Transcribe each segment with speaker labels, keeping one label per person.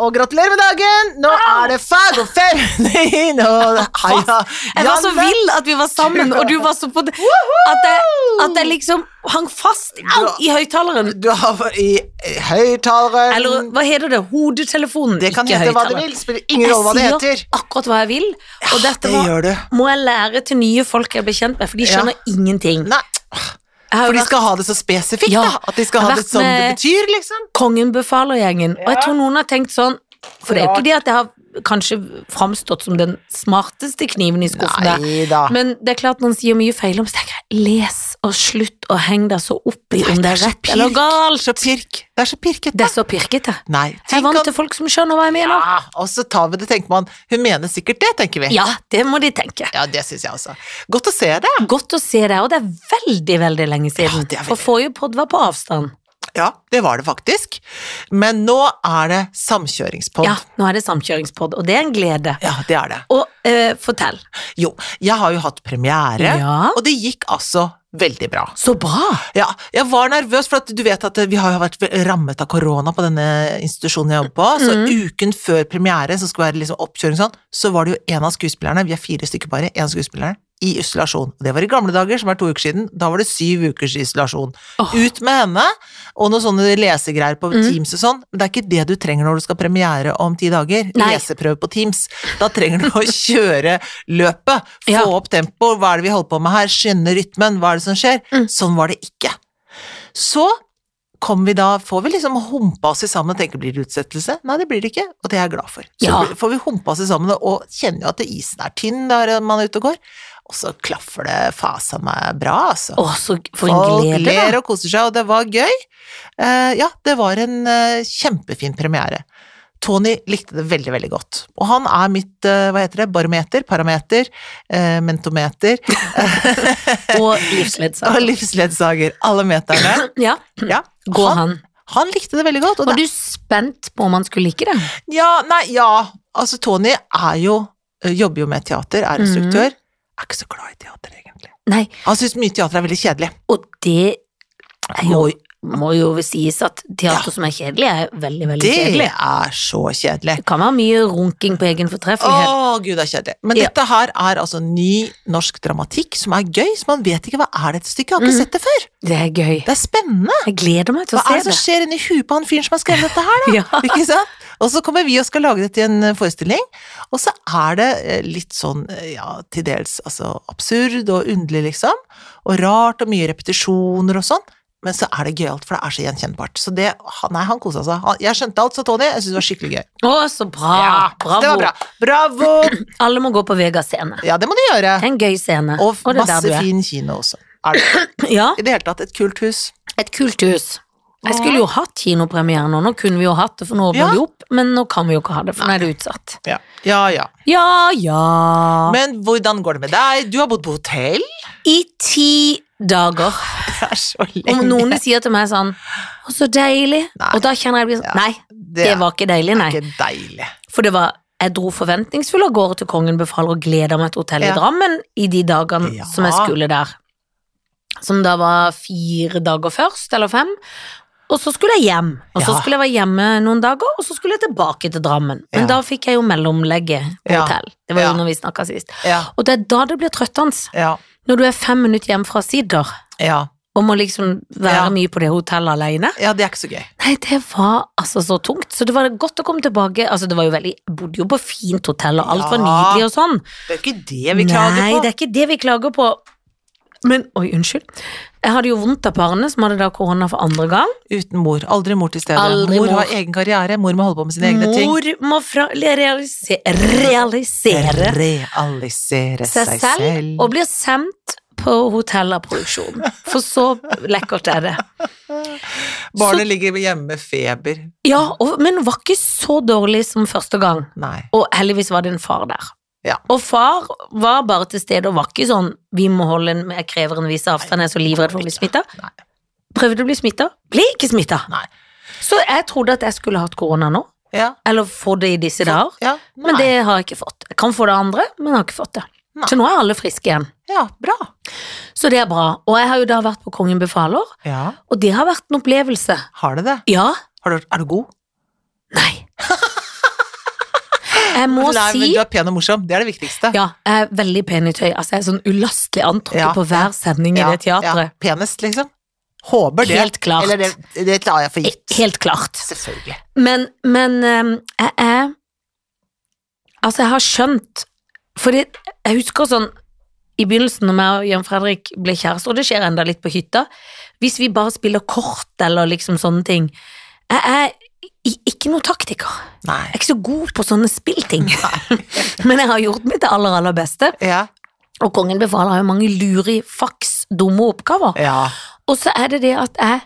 Speaker 1: og gratulerer med dagen! Nå er det fag og ferdig! Og heia
Speaker 2: Jeg var så
Speaker 1: Janne.
Speaker 2: vill at vi var sammen, og du var så på det At jeg, at jeg liksom hang fast au, i høyttaleren.
Speaker 1: Du har vært i i høyttaleren
Speaker 2: Eller hva heter det? Hodetelefonen,
Speaker 1: Det kan
Speaker 2: ikke
Speaker 1: hete hva du
Speaker 2: høyttaleren.
Speaker 1: vil. Spiller ingen rolle hva det
Speaker 2: Jeg
Speaker 1: heter.
Speaker 2: sier akkurat hva jeg vil, og dette
Speaker 1: det
Speaker 2: må,
Speaker 1: gjør du.
Speaker 2: må jeg lære til nye folk jeg blir kjent med, for de skjønner ingenting.
Speaker 1: Nei,
Speaker 2: Jeg har
Speaker 1: for
Speaker 2: jo
Speaker 1: de
Speaker 2: vært
Speaker 1: skal ha det så spesifikt,
Speaker 2: Ja,
Speaker 1: da. At de skal
Speaker 2: jeg har
Speaker 1: ha det
Speaker 2: vært
Speaker 1: som det
Speaker 2: med-
Speaker 1: betyr, liksom.
Speaker 2: Kongen befaler-gjengen, og jeg
Speaker 1: Ja.
Speaker 2: tror noen har tenkt sånn For det er jo
Speaker 1: Klart.
Speaker 2: ikke det at jeg har kanskje framstått som den smarteste kniven i skuffen der,
Speaker 1: Nei da.
Speaker 2: men det er klart man sier mye feil om så tenker jeg, les og slutt og heng deg så opp i
Speaker 1: Nei,
Speaker 2: om det
Speaker 1: det
Speaker 2: er
Speaker 1: er så
Speaker 2: rett eller
Speaker 1: pirk.
Speaker 2: galt.
Speaker 1: Så pirk. Det er så pirkete.
Speaker 2: Det er så pirkete.
Speaker 1: Nei.
Speaker 2: Jeg er
Speaker 1: tenk
Speaker 2: vant
Speaker 1: at-
Speaker 2: til folk som skjønner hva jeg mener.
Speaker 1: ja, og så tar vi det, tenker man. Hun mener sikkert det, tenker vi.
Speaker 2: Ja, det må de tenke.
Speaker 1: Ja, det syns jeg også. Godt å se deg.
Speaker 2: Godt å se deg, og det er veldig, veldig lenge siden.
Speaker 1: Ja, det er
Speaker 2: For
Speaker 1: veldig-
Speaker 2: forrige podd var på avstand.
Speaker 1: Ja, det var det faktisk. Men nå er det samkjøringspod.
Speaker 2: Ja, nå er det samkjøringspod, og det er en glede.
Speaker 1: ja, det er det.
Speaker 2: Og eh, fortell.
Speaker 1: Jo, jeg har jo hatt premiere,
Speaker 2: Ja.
Speaker 1: og det gikk altså veldig bra.
Speaker 2: Så bra!
Speaker 1: Ja, jeg var nervøs, for at du vet at vi har jo vært rammet av korona på denne institusjonen jeg jobber på. Så
Speaker 2: Mm.
Speaker 1: uken før premiere, som skulle være liksom oppkjøring og sånn, så var det jo en av skuespillerne, vi er fire stykker bare, en av skuespillerne, i isolasjon. Og det var i gamle dager, som er to uker siden. Da var det syv ukers isolasjon.
Speaker 2: Åh.
Speaker 1: Ut med henne, og noen sånne lesegreier på
Speaker 2: Mm.
Speaker 1: Teams og sånn. Men det er ikke det du trenger når du skal premiere om ti dager.
Speaker 2: Nei.
Speaker 1: Leseprøve på Teams. Da trenger du å kjøre løpet, få
Speaker 2: Ja.
Speaker 1: opp tempo, hva er det vi holder på med her, skynde rytmen, hva er det som skjer?
Speaker 2: Mm.
Speaker 1: Sånn var det ikke. Så kom vi da, får vi liksom humpa oss i sammen og tenke blir det utsettelse? Nei, det blir det ikke, og det er jeg glad for. Så
Speaker 2: Ja.
Speaker 1: blir- får vi humpa oss i sammen og kjenner jo at isen er tynn der man er ute og går, og så klaffer det fasen meg bra, altså.
Speaker 2: Å, så g- for en
Speaker 1: Folk
Speaker 2: glede,
Speaker 1: ler
Speaker 2: da.
Speaker 1: og koser seg, og det var gøy. Eh, ja, det var en eh, kjempefin premiere. Tony likte det veldig, veldig godt. Og han er mitt, eh, hva heter det, barometer, parameter, eh, mentometer
Speaker 2: Og
Speaker 1: og
Speaker 2: livsledsager.
Speaker 1: livsledsager. Alle meterne.
Speaker 2: Ja,
Speaker 1: Ja,
Speaker 2: går han.
Speaker 1: han likte det veldig godt. Og
Speaker 2: Var
Speaker 1: det,
Speaker 2: du spent på om han skulle like det?
Speaker 1: ja, nei, ja, altså Tony er jo, eh, jobber jo med teater, er instruktør.
Speaker 2: Mm.
Speaker 1: Er ikke så glad i teater, egentlig.
Speaker 2: Nei,
Speaker 1: Han syns mye teater er veldig kjedelig.
Speaker 2: og det er jo,
Speaker 1: Oi.
Speaker 2: må jo sies at teater som er kjedelig, er veldig, veldig
Speaker 1: Det
Speaker 2: kjedelig.
Speaker 1: er så kjedelig.
Speaker 2: Det kan være mye runking på egen fortreffelighet.
Speaker 1: Å, gud, det er kjedelig. Men
Speaker 2: Ja.
Speaker 1: dette her er altså ny norsk dramatikk som er gøy, så man vet ikke hva er dette stykket, jeg har ikke
Speaker 2: Mhm.
Speaker 1: sett det før.
Speaker 2: Det er gøy.
Speaker 1: Det er spennende.
Speaker 2: Jeg gleder meg til
Speaker 1: Hva
Speaker 2: å se
Speaker 1: er det som skjer inni huet på han fyren som har skrevet dette her, da?
Speaker 2: det. Ja.
Speaker 1: Ikke sant? Og så kommer vi og skal lage det til en eh, forestilling, og så er det eh, litt sånn, eh, ja, til dels altså, absurd og underlig, liksom, og rart og mye repetisjoner og sånn, men så er det gøyalt, for det er så gjenkjennbart. Så det, han- nei, han kosa seg. Han- Jeg skjønte alt, sa Tony. Jeg syntes det var skikkelig gøy.
Speaker 2: Å, så bra. Ah, Bravo.
Speaker 1: Det var bra. Bravo!
Speaker 2: Alle må gå på Vega scene.
Speaker 1: Ja, det må du gjøre.
Speaker 2: Det er en gøy scene.
Speaker 1: Og
Speaker 2: Og det er der du
Speaker 1: masse
Speaker 2: er.
Speaker 1: fin kino også. Er det.
Speaker 2: Ja,
Speaker 1: I det hele tatt, et kult hus.
Speaker 2: et kult hus. Jeg skulle jo hatt kinopremiere nå, nå kunne vi jo hatt det, for nå åpner
Speaker 1: Ja.
Speaker 2: de opp, men nå kan vi jo ikke ha det, for nå er det utsatt.
Speaker 1: Ja. ja, ja.
Speaker 2: Ja, ja
Speaker 1: Men hvordan går det med deg? Du har bodd på hotell?
Speaker 2: I ti dager.
Speaker 1: Det er så
Speaker 2: Om
Speaker 1: lenge.
Speaker 2: noen sier til meg sånn Å, så deilig.
Speaker 1: Nei.
Speaker 2: Og da kjenner jeg det blir sånn Nei,
Speaker 1: det,
Speaker 2: det var ikke deilig, nei.
Speaker 1: ikke deilig.
Speaker 2: For det var jeg dro forventningsfull av gårde til Kongen befaler og gleda meg til hotellet
Speaker 1: Ja.
Speaker 2: i Drammen i de dagene
Speaker 1: Ja.
Speaker 2: som jeg skulle der. Som da var fire dager først, eller fem. Og så skulle jeg hjem. Og så
Speaker 1: Ja.
Speaker 2: skulle jeg være hjemme noen dager, og så skulle jeg tilbake til Drammen. Men
Speaker 1: Ja.
Speaker 2: da fikk jeg jo mellomlegget på
Speaker 1: Ja.
Speaker 2: hotell. Det var jo
Speaker 1: Ja.
Speaker 2: når vi snakka sist.
Speaker 1: Ja,
Speaker 2: Og det er da det blir trøttende.
Speaker 1: ja,
Speaker 2: Når du er fem minutter hjem fra Sider
Speaker 1: ja.
Speaker 2: og må liksom være
Speaker 1: Ja.
Speaker 2: mye på det hotellet alene.
Speaker 1: Ja, det er ikke så gøy.
Speaker 2: Nei, det var altså så tungt. Så det var godt å komme tilbake. Altså, det var jo veldig Jeg bodde jo på fint hotell, og alt
Speaker 1: Ja.
Speaker 2: var nydelig og sånn.
Speaker 1: Det er ikke det vi klager
Speaker 2: Nei,
Speaker 1: på.
Speaker 2: det er ikke det vi klager på. Men oi, unnskyld. Jeg hadde jo vondt av parene som hadde da korona for andre gang.
Speaker 1: Uten mor. Aldri mor til stede.
Speaker 2: Aldri
Speaker 1: mor,
Speaker 2: mor.
Speaker 1: har egen karriere, mor må holde på med sine egne ting.
Speaker 2: Mor må fra realise, realisere
Speaker 1: Realisere
Speaker 2: seg selv og blir sendt på hotell av produksjon. For så lekkert er det.
Speaker 1: Barnet ligger hjemme med feber.
Speaker 2: Ja, og, men var ikke så dårlig som første gang.
Speaker 1: Nei.
Speaker 2: Og heldigvis var det en far der.
Speaker 1: Ja.
Speaker 2: Og far var bare til stede og var ikke sånn 'vi må holde en, jeg krever en viss avstand, jeg er så livredd for å bli smitta'.
Speaker 1: Nei.
Speaker 2: Prøvde å bli smitta, ble ikke smitta.
Speaker 1: Nei.
Speaker 2: Så jeg trodde at jeg skulle hatt korona nå,
Speaker 1: Ja.
Speaker 2: eller få det i disse dager,
Speaker 1: Ja.
Speaker 2: men
Speaker 1: Nei.
Speaker 2: det har jeg ikke fått. Jeg kan få det andre, men jeg har ikke fått det.
Speaker 1: Nei.
Speaker 2: Så nå er alle friske igjen.
Speaker 1: Ja, bra.
Speaker 2: Så det er bra. Og jeg har jo da vært på Kongen befaler,
Speaker 1: Ja.
Speaker 2: og det har vært en opplevelse.
Speaker 1: Har det det?
Speaker 2: Ja.
Speaker 1: Har du, er du god?
Speaker 2: Nei. Jeg må
Speaker 1: Nei,
Speaker 2: si
Speaker 1: men du er pen og morsom. Det er det viktigste.
Speaker 2: Ja, jeg er veldig pen i tøy. Altså, jeg er sånn ulastelig antrukket
Speaker 1: Ja,
Speaker 2: på hver sending i det teatret.
Speaker 1: Penest, liksom. Håper det.
Speaker 2: Helt klart.
Speaker 1: Eller det, det tar jeg for gitt.
Speaker 2: Helt klart.
Speaker 1: Selvfølgelig.
Speaker 2: Men, men ehm, jeg er Altså, jeg har skjønt Fordi jeg husker sånn I begynnelsen når jeg og Jan Fredrik ble kjærester Og det skjer enda litt på hytta Hvis vi bare spiller kort eller liksom sånne ting Jeg er i- ikke noen taktiker Jeg
Speaker 1: Nei.
Speaker 2: er ikke så god på sånne spillting Men jeg har gjort mitt det aller aller beste
Speaker 1: Ja.
Speaker 2: Og kongen befaler har jo mange luri, faks, dumme oppgaver
Speaker 1: ja.
Speaker 2: og så er det det at jeg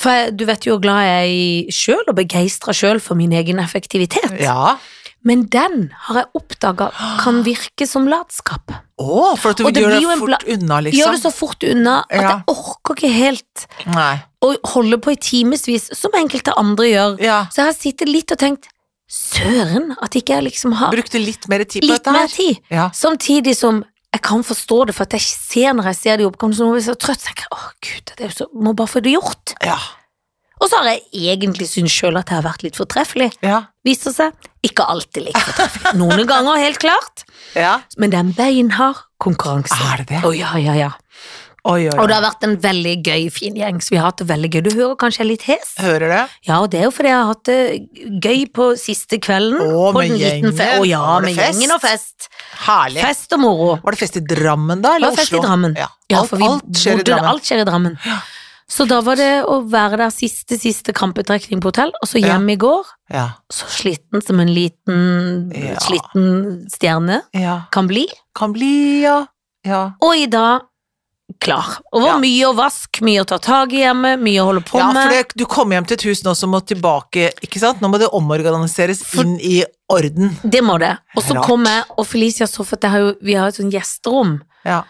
Speaker 2: For jeg, du vet jo hvor glad jeg er i sjøl, og begeistra sjøl for min egen effektivitet.
Speaker 1: Ja.
Speaker 2: Men den har jeg oppdaga kan virke som latskap.
Speaker 1: Å, for at du
Speaker 2: Og det
Speaker 1: gjør
Speaker 2: blir jo
Speaker 1: det
Speaker 2: en
Speaker 1: fort
Speaker 2: bla-
Speaker 1: unna,
Speaker 2: Gjør det
Speaker 1: liksom.
Speaker 2: så fort unna at
Speaker 1: Ja.
Speaker 2: jeg orker ikke helt
Speaker 1: Nei.
Speaker 2: å holde på i timevis, som enkelte andre gjør.
Speaker 1: Ja.
Speaker 2: Så jeg har sittet litt og tenkt Søren, at ikke jeg liksom har
Speaker 1: Brukte litt mer tid på
Speaker 2: litt
Speaker 1: dette
Speaker 2: mer
Speaker 1: her.
Speaker 2: tid.
Speaker 1: Ja.
Speaker 2: Samtidig som jeg kan forstå det, for at jeg ser når jeg ser det i oppgaven, så nå blir jeg så trøtt. Så tenker jeg, åh gud, det er jo så, må bare få det gjort.
Speaker 1: Ja.
Speaker 2: Og så har jeg egentlig syntes sjøl at jeg har vært litt fortreffelig.
Speaker 1: Ja.
Speaker 2: Viser seg ikke alltid like fortreffelig. Noen ganger, helt klart.
Speaker 1: ja.
Speaker 2: Men det er en beinhard konkurranse.
Speaker 1: Er det det?
Speaker 2: Å, ja, ja, ja.
Speaker 1: Oi, oi,
Speaker 2: Og
Speaker 1: oi.
Speaker 2: det har vært en veldig gøy, fin gjeng, så vi har hatt det veldig gøy. Du hører kanskje jeg er litt hes?
Speaker 1: Hører du?
Speaker 2: Ja, og det er jo fordi jeg har hatt det gøy på siste kvelden.
Speaker 1: Å,
Speaker 2: på
Speaker 1: med
Speaker 2: den liten fe-
Speaker 1: gjengen.
Speaker 2: Å ja,
Speaker 1: Var det
Speaker 2: med
Speaker 1: fest?
Speaker 2: gjengen og fest.
Speaker 1: Herlig.
Speaker 2: Fest og moro.
Speaker 1: Var det fest i Drammen, da?
Speaker 2: Det
Speaker 1: Eller
Speaker 2: var fest i
Speaker 1: Oslo?
Speaker 2: Drammen.
Speaker 1: Ja.
Speaker 2: Ja,
Speaker 1: Alt,
Speaker 2: for vi
Speaker 1: alt skjer i
Speaker 2: bodde-
Speaker 1: Drammen.
Speaker 2: Alt skjer i Drammen.
Speaker 1: Ja.
Speaker 2: Så da var det å være der siste, siste krampetrekning på hotell, og så
Speaker 1: Ja.
Speaker 2: hjem i går.
Speaker 1: Ja.
Speaker 2: så sliten som en liten,
Speaker 1: Ja.
Speaker 2: sliten stjerne
Speaker 1: ja.
Speaker 2: kan bli.
Speaker 1: Kan bli, ja. Ja.
Speaker 2: Og i dag klar. Og var
Speaker 1: Ja.
Speaker 2: mye å vaske, mye å ta tak i hjemme, mye å holde på
Speaker 1: ja,
Speaker 2: med.
Speaker 1: for det, du kommer hjem til et hus nå som må tilbake, ikke sant? Nå må det omorganiseres
Speaker 2: For-
Speaker 1: inn i orden.
Speaker 2: det... må det. Og så
Speaker 1: Rart.
Speaker 2: kom jeg, og Felicia så for at jeg har jo, vi har et sånt gjesterom
Speaker 1: Ja,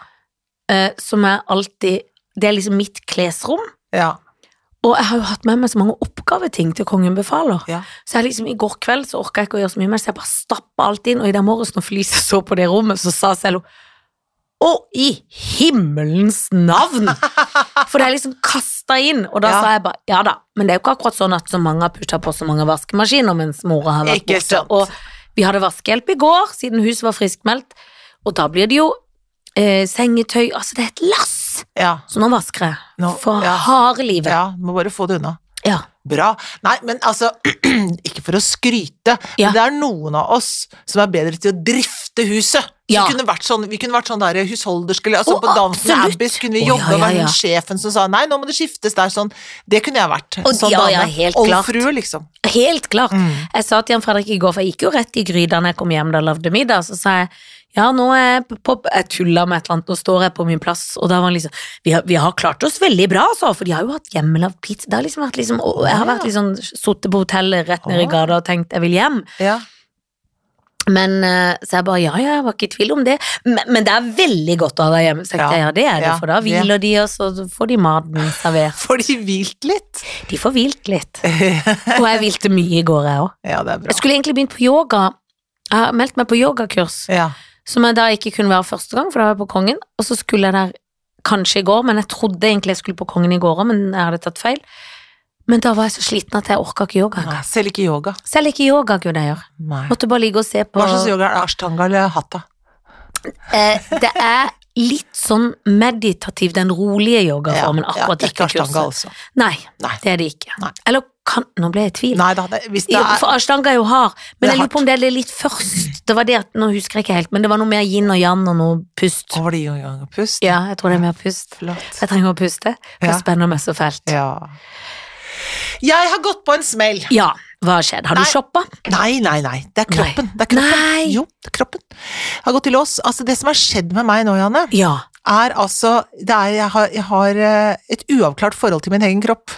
Speaker 2: eh, som er alltid Det er liksom mitt klesrom.
Speaker 1: ja,
Speaker 2: Og jeg har jo hatt med meg så mange oppgaveting til Kongen befaler.
Speaker 1: ja.
Speaker 2: Så jeg liksom, I går kveld så orka jeg ikke å gjøre så mye mer, så jeg bare stappa alt inn. Og i dag morges når Felicia så på det rommet, så sa Cello Å, i himmelens navn! For det er liksom kasta inn. Og da
Speaker 1: Ja.
Speaker 2: sa jeg bare ja da, men det er jo ikke akkurat sånn at så mange har putta på så mange vaskemaskiner mens mora har vært
Speaker 1: Ikke
Speaker 2: borte.
Speaker 1: sant.
Speaker 2: Og vi hadde vaskehjelp i går, siden huset var friskmeldt. Og da blir det jo eh, sengetøy Altså, det er et lass!
Speaker 1: ja.
Speaker 2: Så nå vasker jeg.
Speaker 1: Nå-
Speaker 2: For
Speaker 1: ja.
Speaker 2: harde livet.
Speaker 1: ja du må bare få det unna.
Speaker 2: Ja.
Speaker 1: Bra. Nei, men altså, ikke for å skryte,
Speaker 2: Ja.
Speaker 1: men det er noen av oss som er bedre til å drifte huset. Så
Speaker 2: Ja.
Speaker 1: vi, kunne vært sånn, vi kunne vært sånn der husholderske, eller altså
Speaker 2: Å,
Speaker 1: på Dansen med
Speaker 2: absolutt.
Speaker 1: Abbeys kunne
Speaker 2: Å,
Speaker 1: vi
Speaker 2: ja,
Speaker 1: jobbe og
Speaker 2: ja,
Speaker 1: være
Speaker 2: ja.
Speaker 1: den sjefen som sa nei, nå må det skiftes der, sånn. Det kunne jeg vært.
Speaker 2: Og-
Speaker 1: sånn
Speaker 2: ja, ja,
Speaker 1: dame.
Speaker 2: helt
Speaker 1: Oldfrue, liksom.
Speaker 2: Helt klart.
Speaker 1: Mm.
Speaker 2: Jeg sa til Jan Fredrik i går, for jeg gikk jo rett i gryta når jeg kom hjem da jeg lagde middag, så sa jeg ja, nå er jeg på- på Jeg tulla med et eller annet, nå står jeg på min plass, og da var han liksom Vi har, vi har klart oss veldig bra, altså, for de har jo hatt hjemmelagd pizza. Det har liksom vært liksom og Jeg har vært liksom sittet på hotellet rett nede i gata og tenkt jeg vil hjem.
Speaker 1: Ja.
Speaker 2: Men eh, så jeg bare ja, ja, jeg var ikke i tvil om det. Men, men det er veldig godt å ha deg hjemme, så tenkte
Speaker 1: Ja.
Speaker 2: jeg ja, det er det,
Speaker 1: Ja,
Speaker 2: for da
Speaker 1: det.
Speaker 2: hviler de, og så får de maten servert.
Speaker 1: Får de hvilt litt?
Speaker 2: De får hvilt litt.
Speaker 1: ja,
Speaker 2: Og jeg hvilte mye i går, jeg òg.
Speaker 1: det er bra.
Speaker 2: Jeg skulle egentlig begynt på yoga. Jeg har meldt meg på yogakurs,
Speaker 1: Ja.
Speaker 2: som jeg da ikke kunne være første gang, for da var jeg på Kongen. Og så skulle jeg der kanskje i går, men jeg trodde egentlig jeg skulle på Kongen i går òg, men jeg hadde tatt feil. Men da var jeg så sliten at jeg orka ikke yoga.
Speaker 1: Nei, selv ikke yoga.
Speaker 2: Selv ikke yoga kunne jeg gjøre.
Speaker 1: Nei.
Speaker 2: Måtte bare ligge og se på.
Speaker 1: Hva slags yoga er det? Ashtanga eller hatta?
Speaker 2: Eh, det er litt sånn meditativ, den rolige yogaformen, akkurat
Speaker 1: ikke
Speaker 2: dette
Speaker 1: ashtanga,
Speaker 2: kurset.
Speaker 1: altså.
Speaker 2: Nei,
Speaker 1: Nei.
Speaker 2: det er det ikke.
Speaker 1: Nei.
Speaker 2: Eller kan Nå ble jeg i tvil.
Speaker 1: Nei da, det- hvis det
Speaker 2: Jo,
Speaker 1: er
Speaker 2: for ashtanga er jo hard, men
Speaker 1: Det er
Speaker 2: jeg lurer på om det er litt først. Det var det at, Nå husker jeg ikke helt, men det var noe mer yin og yang og noe pust.
Speaker 1: Å, var det i gang og pust?
Speaker 2: Ja, jeg tror det er mer pust.
Speaker 1: Flott.
Speaker 2: Jeg trenger å puste, for det
Speaker 1: Ja.
Speaker 2: spenner meg så fælt.
Speaker 1: Ja. Jeg har gått på en smell.
Speaker 2: Ja, hva har skjedd? Har du
Speaker 1: Nei.
Speaker 2: shoppa?
Speaker 1: Nei, nei, nei. Det er kroppen. Det er kroppen.
Speaker 2: Nei!
Speaker 1: Jo, det er kroppen. Jeg har gått til lås. Altså, det som har skjedd med meg nå, Janne,
Speaker 2: Ja.
Speaker 1: er altså det er, jeg, har, jeg har eh, et uavklart forhold til min egen kropp.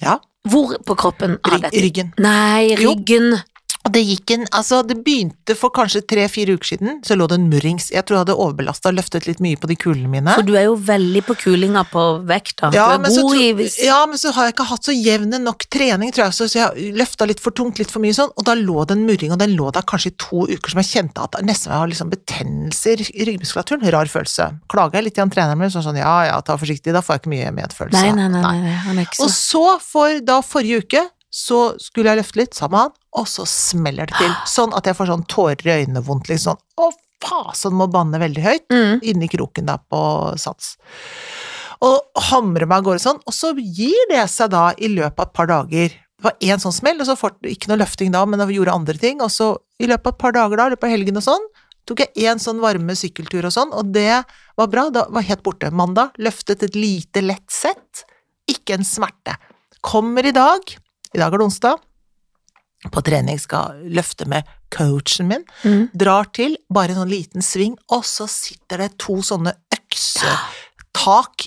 Speaker 1: Ja.
Speaker 2: Hvor på kroppen har
Speaker 1: Ry-
Speaker 2: dette?
Speaker 1: Ryggen.
Speaker 2: Nei,
Speaker 1: Jo.
Speaker 2: ryggen.
Speaker 1: Og det gikk en Altså, det begynte for kanskje tre-fire uker siden, så lå det en murrings. Jeg tror jeg hadde overbelasta og løftet litt mye på de kulene mine.
Speaker 2: For du er jo veldig på kulinga på vekta. Du
Speaker 1: Ja
Speaker 2: er
Speaker 1: men, så,
Speaker 2: god i
Speaker 1: tro- ja, men så har jeg ikke hatt så jevne nok trening, tror jeg, så, så jeg løfta litt for tungt, litt for mye sånn, og da lå det en murring, og den lå der kanskje i to uker, som jeg kjente at det nesten var liksom betennelse i ry- i ryggmuskulaturen. Rar følelse. Klaga jeg litt til han treneren min, sånn sånn ja ja, ta forsiktig, da får jeg ikke mye medfølelse.
Speaker 2: Nei, nei, nei, nei, nei, han er ikke
Speaker 1: Og
Speaker 2: så
Speaker 1: så, for da forrige uke, så skulle jeg løfte litt sammen med han, og så smeller det til. Sånn at jeg får sånn tårer i øynene vondt, liksom sånn. Å, fasen, må banne veldig høyt
Speaker 2: Mm.
Speaker 1: inni kroken der på sats. Og hamrer meg av gårde sånn, og så gir det seg da i løpet av et par dager. Det var én sånn smell, og så fort, ikke noe løfting da, men jeg gjorde andre ting. Og så i løpet av et par dager da, i løpet av helgen og sånn, tok jeg én sånn varme sykkeltur og sånn, og det var bra. Da var jeg helt borte. Mandag løftet et lite, lett sett. Ikke en smerte. Kommer i dag, i dag er det onsdag, på trening skal løfte med coachen min
Speaker 2: Mm.
Speaker 1: drar til, bare en sånn liten sving, og så sitter det to sånne øksetak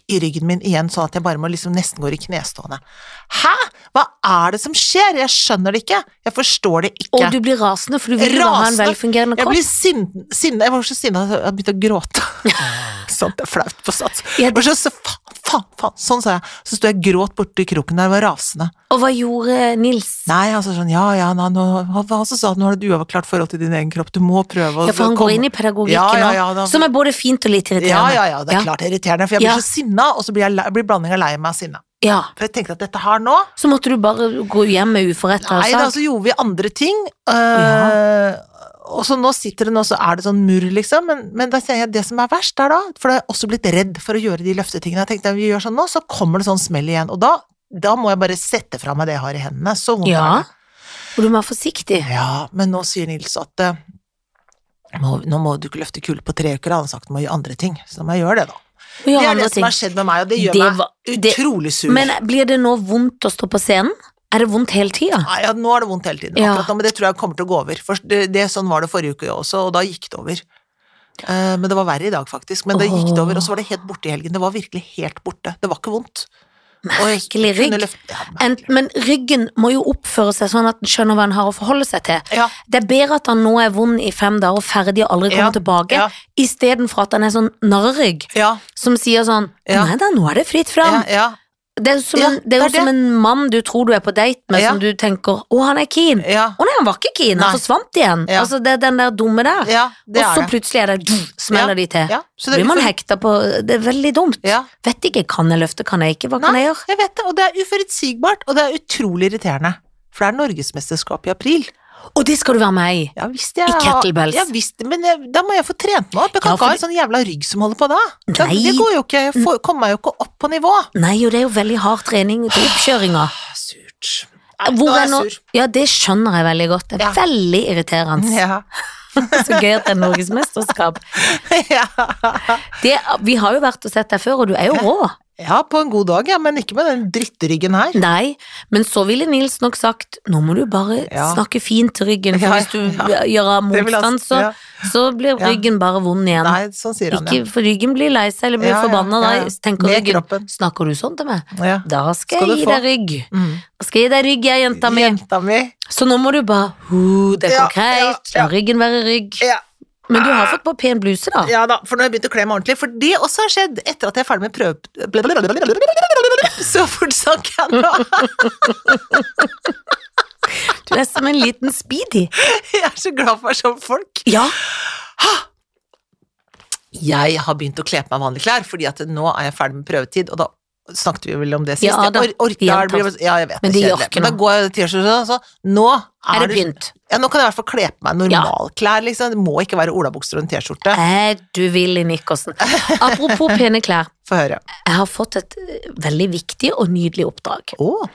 Speaker 1: i ryggen min igjen, sånn at jeg bare må liksom nesten gå i knestående. Hæ? Hva er det som skjer? Jeg skjønner det ikke. Jeg forstår det ikke.
Speaker 2: Og du blir rasende, for du vil jo ha en
Speaker 1: Rasende.
Speaker 2: velfungerende
Speaker 1: jeg
Speaker 2: kropp.
Speaker 1: blir sinne, sinne. Jeg var så sinna at jeg begynte å gråte. Sånt er flaut på sats.
Speaker 2: Ja,
Speaker 1: Jeg var så, så faen, faen, faen. Sånn sa jeg. Så sto jeg og gråt borti kroken der, jeg var rasende.
Speaker 2: Og hva gjorde Nils?
Speaker 1: Nei, altså sånn, ja, ja, nei, nå, han han som sa at nå har du et uavklart forhold til din egen kropp, du må prøve å
Speaker 2: Ja, for han
Speaker 1: komme-
Speaker 2: går inn i pedagogikken
Speaker 1: Altså, Ja, ja,
Speaker 2: nå,
Speaker 1: ja, da-
Speaker 2: som er både fint og litt
Speaker 1: Ja,
Speaker 2: irriterende.
Speaker 1: ja, ja, det er
Speaker 2: Ja.
Speaker 1: klart det er irriterende, for jeg blir
Speaker 2: Ja.
Speaker 1: så sinna, og så blir, jeg, lei- blir blandinga lei meg og sinna.
Speaker 2: Ja.
Speaker 1: For jeg tenkte at dette her nå
Speaker 2: Så måtte du bare gå hjem med uforretta
Speaker 1: Nei da,
Speaker 2: sak.
Speaker 1: så gjorde vi andre ting. øh, Og så nå sitter det nå, så er det sånn murr, liksom. Men, men da sier jeg det som er verst er da, for da har jeg også blitt redd for å gjøre de løftetingene. Jeg tenkte vi gjør sånn nå, så kommer det sånn smell igjen. Og da, da må jeg bare sette fra meg det jeg har i hendene. Så vondt
Speaker 2: Ja.
Speaker 1: er det.
Speaker 2: Og du må være forsiktig.
Speaker 1: Ja, men nå sier Nils at eh, nå, nå må du ikke løfte kull på tre uker, han har sagt du må gjøre andre ting. Så da må jeg gjøre det, da.
Speaker 2: Og
Speaker 1: det
Speaker 2: gjøre
Speaker 1: er det
Speaker 2: andre
Speaker 1: som
Speaker 2: ting.
Speaker 1: har skjedd med meg, og det gjør
Speaker 2: Det
Speaker 1: meg
Speaker 2: var- det-
Speaker 1: utrolig sur.
Speaker 2: Men blir det nå vondt å stå på scenen? Er det vondt hele tida?
Speaker 1: Nei, ja, nå er det vondt hele tiden,
Speaker 2: Ja.
Speaker 1: akkurat nå, men det tror jeg kommer til å gå over. For det, det, sånn var det forrige uke også, og da gikk det over. Eh, men det var verre i dag, faktisk. Men det gikk det over, og så var det helt borte i helgen. Det var virkelig helt borte. Det var ikke vondt. Og jeg
Speaker 2: Merkelig
Speaker 1: kunne
Speaker 2: rygg.
Speaker 1: løfte- Ja,
Speaker 2: En,
Speaker 1: merkelig.
Speaker 2: men ryggen må jo oppføre seg sånn at den skjønner hva den har å forholde seg til.
Speaker 1: ja,
Speaker 2: Det er bedre at han nå er vond i fem dager og ferdig og aldri kommer
Speaker 1: Ja,
Speaker 2: tilbake,
Speaker 1: ja.
Speaker 2: istedenfor at han er sånn narrerygg
Speaker 1: ja,
Speaker 2: som sier sånn
Speaker 1: Ja.
Speaker 2: Nei da, nå er det fritt
Speaker 1: ja,
Speaker 2: fram.
Speaker 1: ja,
Speaker 2: Det er jo som,
Speaker 1: Ja,
Speaker 2: en, det er jo
Speaker 1: det er
Speaker 2: som en mann du tror du er på date med,
Speaker 1: Ja.
Speaker 2: som du tenker 'Å, han er keen'.
Speaker 1: ja,
Speaker 2: Å nei, han var ikke keen, han
Speaker 1: Nei.
Speaker 2: forsvant igjen.
Speaker 1: Ja.
Speaker 2: Altså, det er den der dumme der.
Speaker 1: ja, det
Speaker 2: og så
Speaker 1: er det.
Speaker 2: plutselig er det du, smeller de til.
Speaker 1: Ja, så liksom
Speaker 2: Blir man hekta på Det er veldig dumt.
Speaker 1: Ja,
Speaker 2: Vet ikke, kan jeg løfte, kan jeg ikke, hva kan jeg gjøre?
Speaker 1: Jeg vet det, og det er uforutsigbart, og det er utrolig irriterende. For det er norgesmesterskap i april.
Speaker 2: Og det skal du være med i.
Speaker 1: Ja visst, jeg
Speaker 2: I
Speaker 1: har-
Speaker 2: kettlebells.
Speaker 1: Ja visst, men jeg, da må jeg få trent meg opp. Jeg kan
Speaker 2: Ja,
Speaker 1: ikke ha en
Speaker 2: for
Speaker 1: sånn jævla rygg som holder på da. Da-
Speaker 2: Nei.
Speaker 1: Det går jo ikke. Jeg får, kommer meg jo ikke opp på nivå.
Speaker 2: Nei, og det er jo veldig hard trening til oppkjøringa.
Speaker 1: Surt.
Speaker 2: Hvor
Speaker 1: nå er
Speaker 2: er Ah, nå-
Speaker 1: jeg sur.
Speaker 2: Ja, det skjønner jeg veldig godt. Det er
Speaker 1: Ja.
Speaker 2: veldig irriterende.
Speaker 1: Ja.
Speaker 2: Så gøy at det er norgesmesterskap.
Speaker 1: ja.
Speaker 2: Det- Vi har jo vært og sett deg før, og du er jo rå.
Speaker 1: ja, på en god dag, ja, men ikke med den drittryggen her.
Speaker 2: Nei, men så ville Nils nok sagt nå må du bare
Speaker 1: Ja.
Speaker 2: snakke fint til ryggen, for
Speaker 1: Ja,
Speaker 2: hvis du gjør av
Speaker 1: Det vil jeg- altså-
Speaker 2: motstand, så,
Speaker 1: ja.
Speaker 2: så blir
Speaker 1: Ja.
Speaker 2: ryggen bare vond igjen.
Speaker 1: Nei, sånn sier han,
Speaker 2: Ikke, for ryggen blir lei seg eller blir
Speaker 1: Ja, ja,
Speaker 2: forbanna,
Speaker 1: ja, ja.
Speaker 2: da tenker
Speaker 1: Med
Speaker 2: ryggen
Speaker 1: kroppen.
Speaker 2: Snakker du sånn til meg?
Speaker 1: ja. ja.
Speaker 2: Da skal,
Speaker 1: Skal du
Speaker 2: jeg gi
Speaker 1: få.
Speaker 2: deg rygg.
Speaker 1: Mm.
Speaker 2: Da skal jeg gi deg rygg, jeg, jenta mi.
Speaker 1: Jenta mi.
Speaker 2: Så nå må du bare hu, Det er
Speaker 1: Ja,
Speaker 2: konkret.
Speaker 1: ja, ja.
Speaker 2: La ryggen være rygg.
Speaker 1: Ja.
Speaker 2: Men du har fått på pen bluse, da.
Speaker 1: Ja da, for nå har jeg begynt å kle meg ordentlig. For det også har skjedd etter at jeg er ferdig med prøve... Så fort snakker jeg nå.
Speaker 2: Du er som en liten speedy.
Speaker 1: Jeg er så glad for sånne folk.
Speaker 2: Ja.
Speaker 1: Jeg har begynt å kle på meg vanlige klær, fordi at nå er jeg ferdig med prøvetid, og da snakket vi vel om det sist.
Speaker 2: Ja,
Speaker 1: Jeg
Speaker 2: da.
Speaker 1: or orker jeg, det blir- ja, jeg vet
Speaker 2: Men
Speaker 1: det
Speaker 2: det
Speaker 1: er
Speaker 2: gjør
Speaker 1: kjedelig.
Speaker 2: ikke
Speaker 1: Men da
Speaker 2: noe.
Speaker 1: går jeg i T-skjorte og sånn. Nå er,
Speaker 2: Er det
Speaker 1: det
Speaker 2: pynt?
Speaker 1: Ja, nå kan jeg i hvert fall kle på meg normalklær, liksom. Det må ikke være olabukser og en T-skjorte.
Speaker 2: Er Eh, du villig, Nikkersen? Apropos pene klær.
Speaker 1: Få høre.
Speaker 2: Jeg har fått et eh, veldig viktig og nydelig oppdrag.
Speaker 1: Å,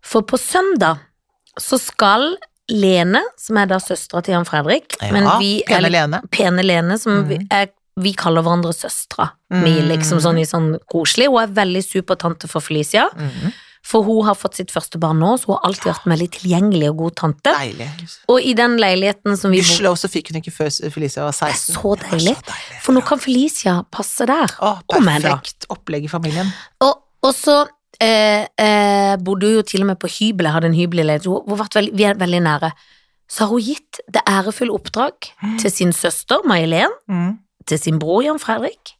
Speaker 2: For på søndag så skal Lene, som er da søstera til Jan Fredrik
Speaker 1: ja.
Speaker 2: Men vi er
Speaker 1: Pene
Speaker 2: litt
Speaker 1: Lene.
Speaker 2: pene Lene, som vi, er, vi kaller hverandre søstra. Vi
Speaker 1: Mm.
Speaker 2: liksom sånn i sånn koselig. Hun er veldig supertante for Felicia,
Speaker 1: Mhm.
Speaker 2: for hun har fått sitt første barn nå, så hun har alltid vært en veldig tilgjengelig og god tante.
Speaker 1: Deilig.
Speaker 2: Og i den leiligheten som vi bor
Speaker 1: Gudskjelov så fikk hun ikke før Felicia var 16.
Speaker 2: Det er så deilig. For nå kan Felicia passe der.
Speaker 1: Å,
Speaker 2: Om jeg da.
Speaker 1: perfekt opplegg i familien.
Speaker 2: Og, og så eh, eh, bodde hun jo til og med på hybel, jeg hadde en hybel i leilighet, hun hun har vært veldig, vi er veldig nære. Så har hun gitt det ærefulle oppdrag til sin søster, May-Helen,
Speaker 1: Mm.
Speaker 2: til sin bror, Jan Fredrik,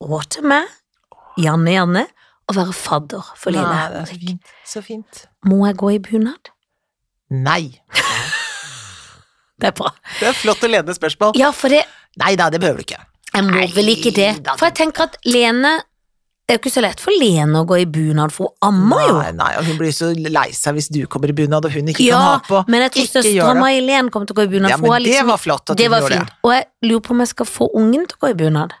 Speaker 2: og til meg, Janne Janne, å være fadder for Lille
Speaker 1: Nei, det er så
Speaker 2: Henrik.
Speaker 1: fint. Så fint.
Speaker 2: Må jeg gå i bunad?
Speaker 1: Nei.
Speaker 2: Det er bra.
Speaker 1: Det er flott og ledende spørsmål.
Speaker 2: Ja, for det,
Speaker 1: Nei da, det behøver du ikke.
Speaker 2: jeg må
Speaker 1: Nei,
Speaker 2: vel ikke det.
Speaker 1: da,
Speaker 2: For jeg tenker at Lene Det er jo ikke så lett for Lene å gå i bunad, for hun ammer jo.
Speaker 1: Nei, nei, og hun blir så lei seg hvis du kommer i bunad og hun ikke
Speaker 2: Ja,
Speaker 1: kan ha på.
Speaker 2: Men jeg tror
Speaker 1: Ikke gjør
Speaker 2: søstera
Speaker 1: det.
Speaker 2: May-Len kommer til å gå i bunad.
Speaker 1: Ja,
Speaker 2: for hun har
Speaker 1: men det
Speaker 2: liksom-
Speaker 1: var flott at
Speaker 2: det
Speaker 1: hun
Speaker 2: var
Speaker 1: gjorde
Speaker 2: fint. Og jeg lurer på om jeg skal få ungen til å gå i bunad.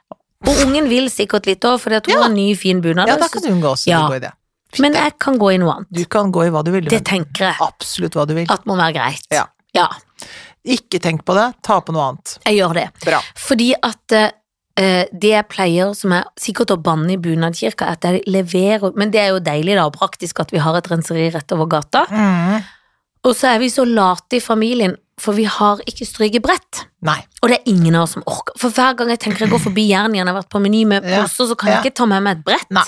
Speaker 2: Og ungen vil sikkert litt òg, for hun
Speaker 1: Ja.
Speaker 2: har en ny, fin bunad.
Speaker 1: Ja,
Speaker 2: og
Speaker 1: da
Speaker 2: jeg
Speaker 1: kan
Speaker 2: synes-
Speaker 1: hun gå også.
Speaker 2: Ja.
Speaker 1: Du, går i det. Fint,
Speaker 2: Men
Speaker 1: det.
Speaker 2: jeg kan gå i noe annet.
Speaker 1: du kan gå i hva du vil.
Speaker 2: Det
Speaker 1: men
Speaker 2: tenker jeg
Speaker 1: Absolutt hva du vil.
Speaker 2: at må være greit.
Speaker 1: Ja.
Speaker 2: ja
Speaker 1: Ikke tenk på det, ta på noe annet.
Speaker 2: jeg gjør det.
Speaker 1: Bra.
Speaker 2: Fordi at eh, det jeg pleier, som er sikkert å banne i bunadkirka, er at jeg leverer Men det er jo deilig da, og praktisk at vi har et renseri rett over gata. Mm. Og så er vi så late i familien, for vi har ikke strykebrett.
Speaker 1: Nei.
Speaker 2: Og det er ingen av oss som orker. For hver gang jeg tenker jeg går forbi Jernia, jeg har vært på Meny med
Speaker 1: Ja,
Speaker 2: poser, så kan jeg
Speaker 1: ja.
Speaker 2: ikke ta med meg et brett.
Speaker 1: Nei.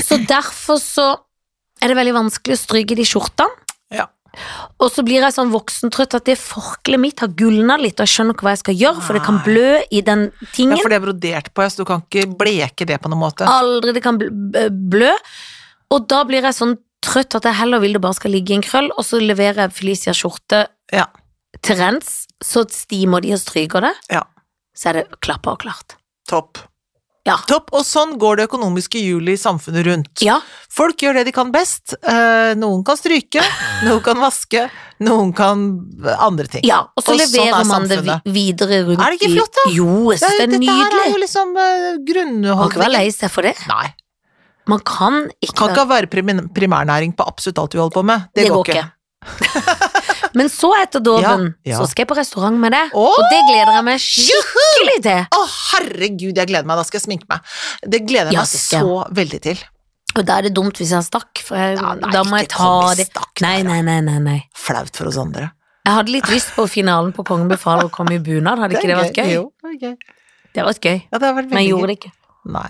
Speaker 2: Så derfor så er det veldig vanskelig å stryke de skjortene.
Speaker 1: Ja.
Speaker 2: Og så blir jeg sånn voksentrøtt at det forkleet mitt har gulna litt, og jeg skjønner ikke hva jeg skal gjøre, for det kan
Speaker 1: Nei.
Speaker 2: blø i den
Speaker 1: Ja,
Speaker 2: tingen.
Speaker 1: for det er brodert på, ja, så du kan ikke bleke det på noen måte.
Speaker 2: Aldri det kan bl- b- blø. Og da blir jeg sånn trøtt at jeg heller vil det bare skal ligge i en krøll, og så leverer jeg Felicia skjorte
Speaker 1: Ja.
Speaker 2: til rens, så stimer de og stryker det.
Speaker 1: Ja.
Speaker 2: Så er det klappa og klart.
Speaker 1: Topp.
Speaker 2: Ja.
Speaker 1: Topp, Og sånn går det økonomiske hjulet i samfunnet rundt.
Speaker 2: Ja,
Speaker 1: Folk gjør det de kan best. Eh, noen kan stryke, noen kan vaske, noen kan andre ting.
Speaker 2: ja. og så
Speaker 1: Og sånn
Speaker 2: leverer
Speaker 1: er
Speaker 2: man det vi-
Speaker 1: samfunnet.
Speaker 2: videre rundt
Speaker 1: Er det ikke
Speaker 2: i-
Speaker 1: flott, da?
Speaker 2: Jo, jeg synes det er
Speaker 1: dette her er
Speaker 2: nydelig.
Speaker 1: jo liksom uh,
Speaker 2: Man kan ikke være
Speaker 1: grunnholdningen.
Speaker 2: lei seg for det.
Speaker 1: Nei.
Speaker 2: Man kan ikke
Speaker 1: Kan
Speaker 2: være-
Speaker 1: ikke være primin- primærnæring på absolutt alt vi holder på med. Det, går ikke.
Speaker 2: Men så etter dåpen,
Speaker 1: Ja, ja.
Speaker 2: så skal jeg på restaurant med deg,
Speaker 1: Åh!
Speaker 2: og det gleder jeg meg skikkelig til.
Speaker 1: Å, herregud, jeg gleder meg. Da skal jeg sminke meg. Det gleder jeg
Speaker 2: Ja,
Speaker 1: meg
Speaker 2: det skal jeg.
Speaker 1: så veldig til.
Speaker 2: Og da er det dumt hvis jeg stakk, for jeg,
Speaker 1: Ja, nei,
Speaker 2: da må jeg
Speaker 1: ikke
Speaker 2: ta
Speaker 1: kom i
Speaker 2: det.
Speaker 1: stakk,
Speaker 2: Nei,
Speaker 1: da.
Speaker 2: nei, nei, nei, nei.
Speaker 1: Flaut for oss andre.
Speaker 2: Jeg hadde litt lyst på finalen på Kongen befaler å komme i bunad, hadde ikke det vært gøy?
Speaker 1: Jo, det er gøy.
Speaker 2: Det hadde vært gøy,
Speaker 1: Ja, det har vært
Speaker 2: men
Speaker 1: veldig
Speaker 2: jeg
Speaker 1: gøy.
Speaker 2: gjorde det ikke.
Speaker 1: Nei.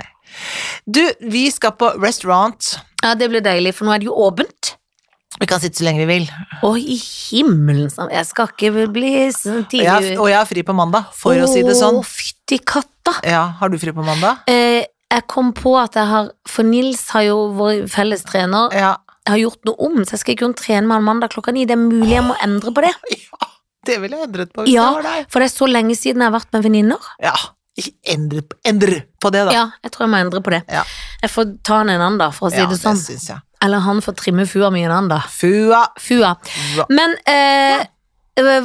Speaker 1: Du, vi skal på restaurant.
Speaker 2: Ja, det ble deilig, for nå er det jo åpent.
Speaker 1: Vi kan sitte så lenge vi vil.
Speaker 2: Å, i himmelen, sånn. jeg skal ikke bli sånn
Speaker 1: Og
Speaker 2: tidlig.
Speaker 1: jeg, har- og jeg har fri på mandag, for å si det sånn.
Speaker 2: Å, fytti katta.
Speaker 1: Ja, har du fri på mandag?
Speaker 2: Eh, jeg kom på at jeg har, for Nils har jo vår felles trener,
Speaker 1: Ja.
Speaker 2: jeg har gjort noe om, så jeg skal ikke kunne trene med han mandag klokka ni. Det er mulig jeg må endre på det.
Speaker 1: ja. Det ville jeg endret på hvis
Speaker 2: Ja.
Speaker 1: det var deg.
Speaker 2: For det er så lenge siden jeg har vært med venninner.
Speaker 1: Ja. Ikke Endre, endre på det, da.
Speaker 2: Ja, jeg tror jeg må endre på det.
Speaker 1: Ja.
Speaker 2: Jeg får ta han en annen, da, for å si
Speaker 1: Ja,
Speaker 2: det sånn.
Speaker 1: syns jeg.
Speaker 2: Eller han får trimme fua mi en annen, da.
Speaker 1: Fua.
Speaker 2: Fua.
Speaker 1: Hva?
Speaker 2: Men eh,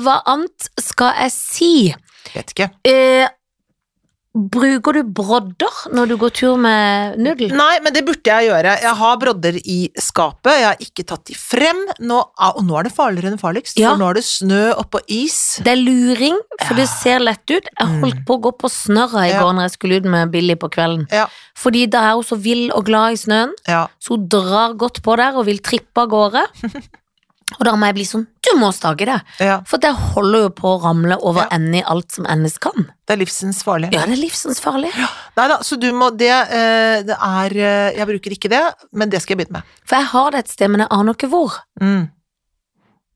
Speaker 2: hva annet skal jeg si?
Speaker 1: Vet ikke.
Speaker 2: Eh, bruker du brodder når du går tur med nudel?
Speaker 1: Nei, men det burde jeg gjøre. Jeg har brodder i skapet, jeg har ikke tatt de frem. Nå, og nå er det farligere enn farligst,
Speaker 2: Ja.
Speaker 1: for nå er det snø oppå is.
Speaker 2: Det er luring, for
Speaker 1: Ja.
Speaker 2: det ser lett ut. Jeg
Speaker 1: Mm.
Speaker 2: holdt på å gå på snørra i
Speaker 1: Ja.
Speaker 2: går når jeg skulle ut med Billy på kvelden.
Speaker 1: Ja.
Speaker 2: Fordi da er hun så vill og glad i snøen,
Speaker 1: Ja.
Speaker 2: så hun drar godt på der og vil trippe av gårde. Og da må jeg bli sånn, du må stake deg,
Speaker 1: ja.
Speaker 2: for det holder jo på å ramle over
Speaker 1: Ja.
Speaker 2: ende i alt som endes kan.
Speaker 1: Det er livsens farlig.
Speaker 2: Ja, det er livsensfarlig.
Speaker 1: Nei da, så du må Det, eh, det er eh, Jeg bruker ikke det, men det skal jeg begynne med.
Speaker 2: For jeg har det et sted, men jeg aner ikke hvor.
Speaker 1: Mm.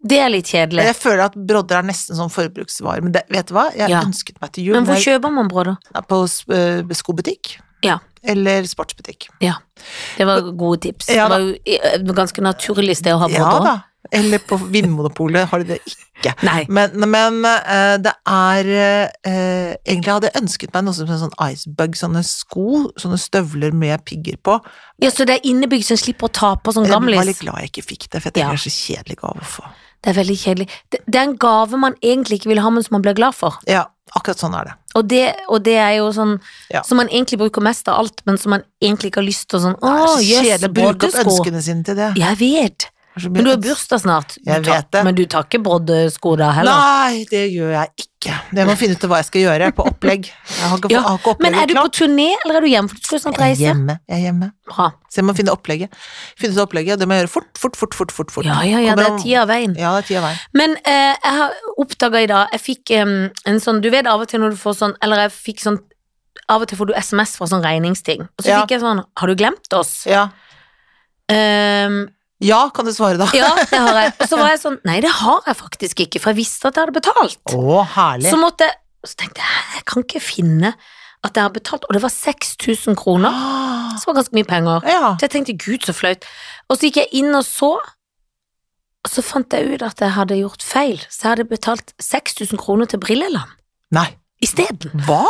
Speaker 2: Det er litt kjedelig.
Speaker 1: Jeg føler at brodder er nesten sånn forbruksvare, men det, vet du hva? Jeg
Speaker 2: Ja.
Speaker 1: ønsket meg til jul
Speaker 2: Men hvor
Speaker 1: når jeg
Speaker 2: kjøper man brødder?
Speaker 1: er på eh, skobutikk.
Speaker 2: Ja.
Speaker 1: Eller sportsbutikk.
Speaker 2: Det var gode tips.
Speaker 1: Ja,
Speaker 2: det var jo i- et ganske naturlig sted å ha
Speaker 1: Ja
Speaker 2: brødder.
Speaker 1: da. Eller på Vinmonopolet har de det ikke.
Speaker 2: Nei.
Speaker 1: Men, men eh, det er eh, Egentlig hadde jeg ønsket meg noe som en sånn icebug, sånne sko, sånne støvler med pigger på.
Speaker 2: Ja, så det er innebygd som slipper å ta på som
Speaker 1: Jeg var
Speaker 2: Sånn gamlis.
Speaker 1: litt glad jeg ikke fikk det, for jeg
Speaker 2: Ja.
Speaker 1: tenker det er så kjedelig gave å få.
Speaker 2: Det er veldig kjedelig. Det, det er en gave man egentlig ikke vil ha, men som man blir glad for.
Speaker 1: Ja, akkurat sånn er det.
Speaker 2: Og det, og det er jo sånn
Speaker 1: Ja.
Speaker 2: som man egentlig bruker mest av alt, men som man egentlig ikke har lyst til. Sånn,
Speaker 1: Det er
Speaker 2: å,
Speaker 1: så
Speaker 2: jøss,
Speaker 1: kjedelig å bruke opp
Speaker 2: broddesko.
Speaker 1: ønskene sine til det.
Speaker 2: Jeg vet.
Speaker 1: Det er så mye
Speaker 2: Men du har
Speaker 1: øns-
Speaker 2: bursdag snart. Du
Speaker 1: Jeg
Speaker 2: tar-
Speaker 1: vet det.
Speaker 2: Men du tar ikke broddesko da heller?
Speaker 1: Nei, det gjør jeg ikke. Jeg må finne ut hva jeg skal gjøre på opplegg. Jeg har ikke,
Speaker 2: Ja,
Speaker 1: jeg har ikke
Speaker 2: Men
Speaker 1: opplegget
Speaker 2: er du på
Speaker 1: klart.
Speaker 2: turné, eller er du hjemme? For du skal jo snart
Speaker 1: Jeg er
Speaker 2: reise.
Speaker 1: hjemme. Jeg er hjemme.
Speaker 2: Bra.
Speaker 1: Så jeg må finne opplegget. Finne ut opplegget, og det må jeg gjøre fort, fort, fort, fort. fort, fort.
Speaker 2: Ja, ja, ja, det
Speaker 1: Kommer
Speaker 2: er
Speaker 1: om-
Speaker 2: tida av veien.
Speaker 1: Ja, det er tida vei.
Speaker 2: Men eh, jeg har oppdaga i dag Jeg fikk em, en sånn Du vet av og til når du får sånn Eller jeg fikk sånn Av og til får du SMS fra sånn regningsting. Og så
Speaker 1: Ja.
Speaker 2: fikk jeg sånn Har du glemt oss?
Speaker 1: Ja.
Speaker 2: Em,
Speaker 1: ja, kan du svare da?
Speaker 2: ja, det har jeg. Og så var jeg sånn Nei, det har jeg faktisk ikke, for jeg visste at jeg hadde betalt.
Speaker 1: Å, herlig.
Speaker 2: Så måtte jeg Så tenkte jeg "Hæ, Jeg kan ikke finne at jeg har betalt. Og det var 6000 kroner,
Speaker 1: Ah,
Speaker 2: som var ganske mye penger.
Speaker 1: Ja.
Speaker 2: Så jeg tenkte gud, så flaut. Og så gikk jeg inn og så, og så fant jeg ut at jeg hadde gjort feil. Så jeg hadde betalt 6000 kroner til Brilleland.
Speaker 1: Nei.
Speaker 2: isteden.
Speaker 1: Hva?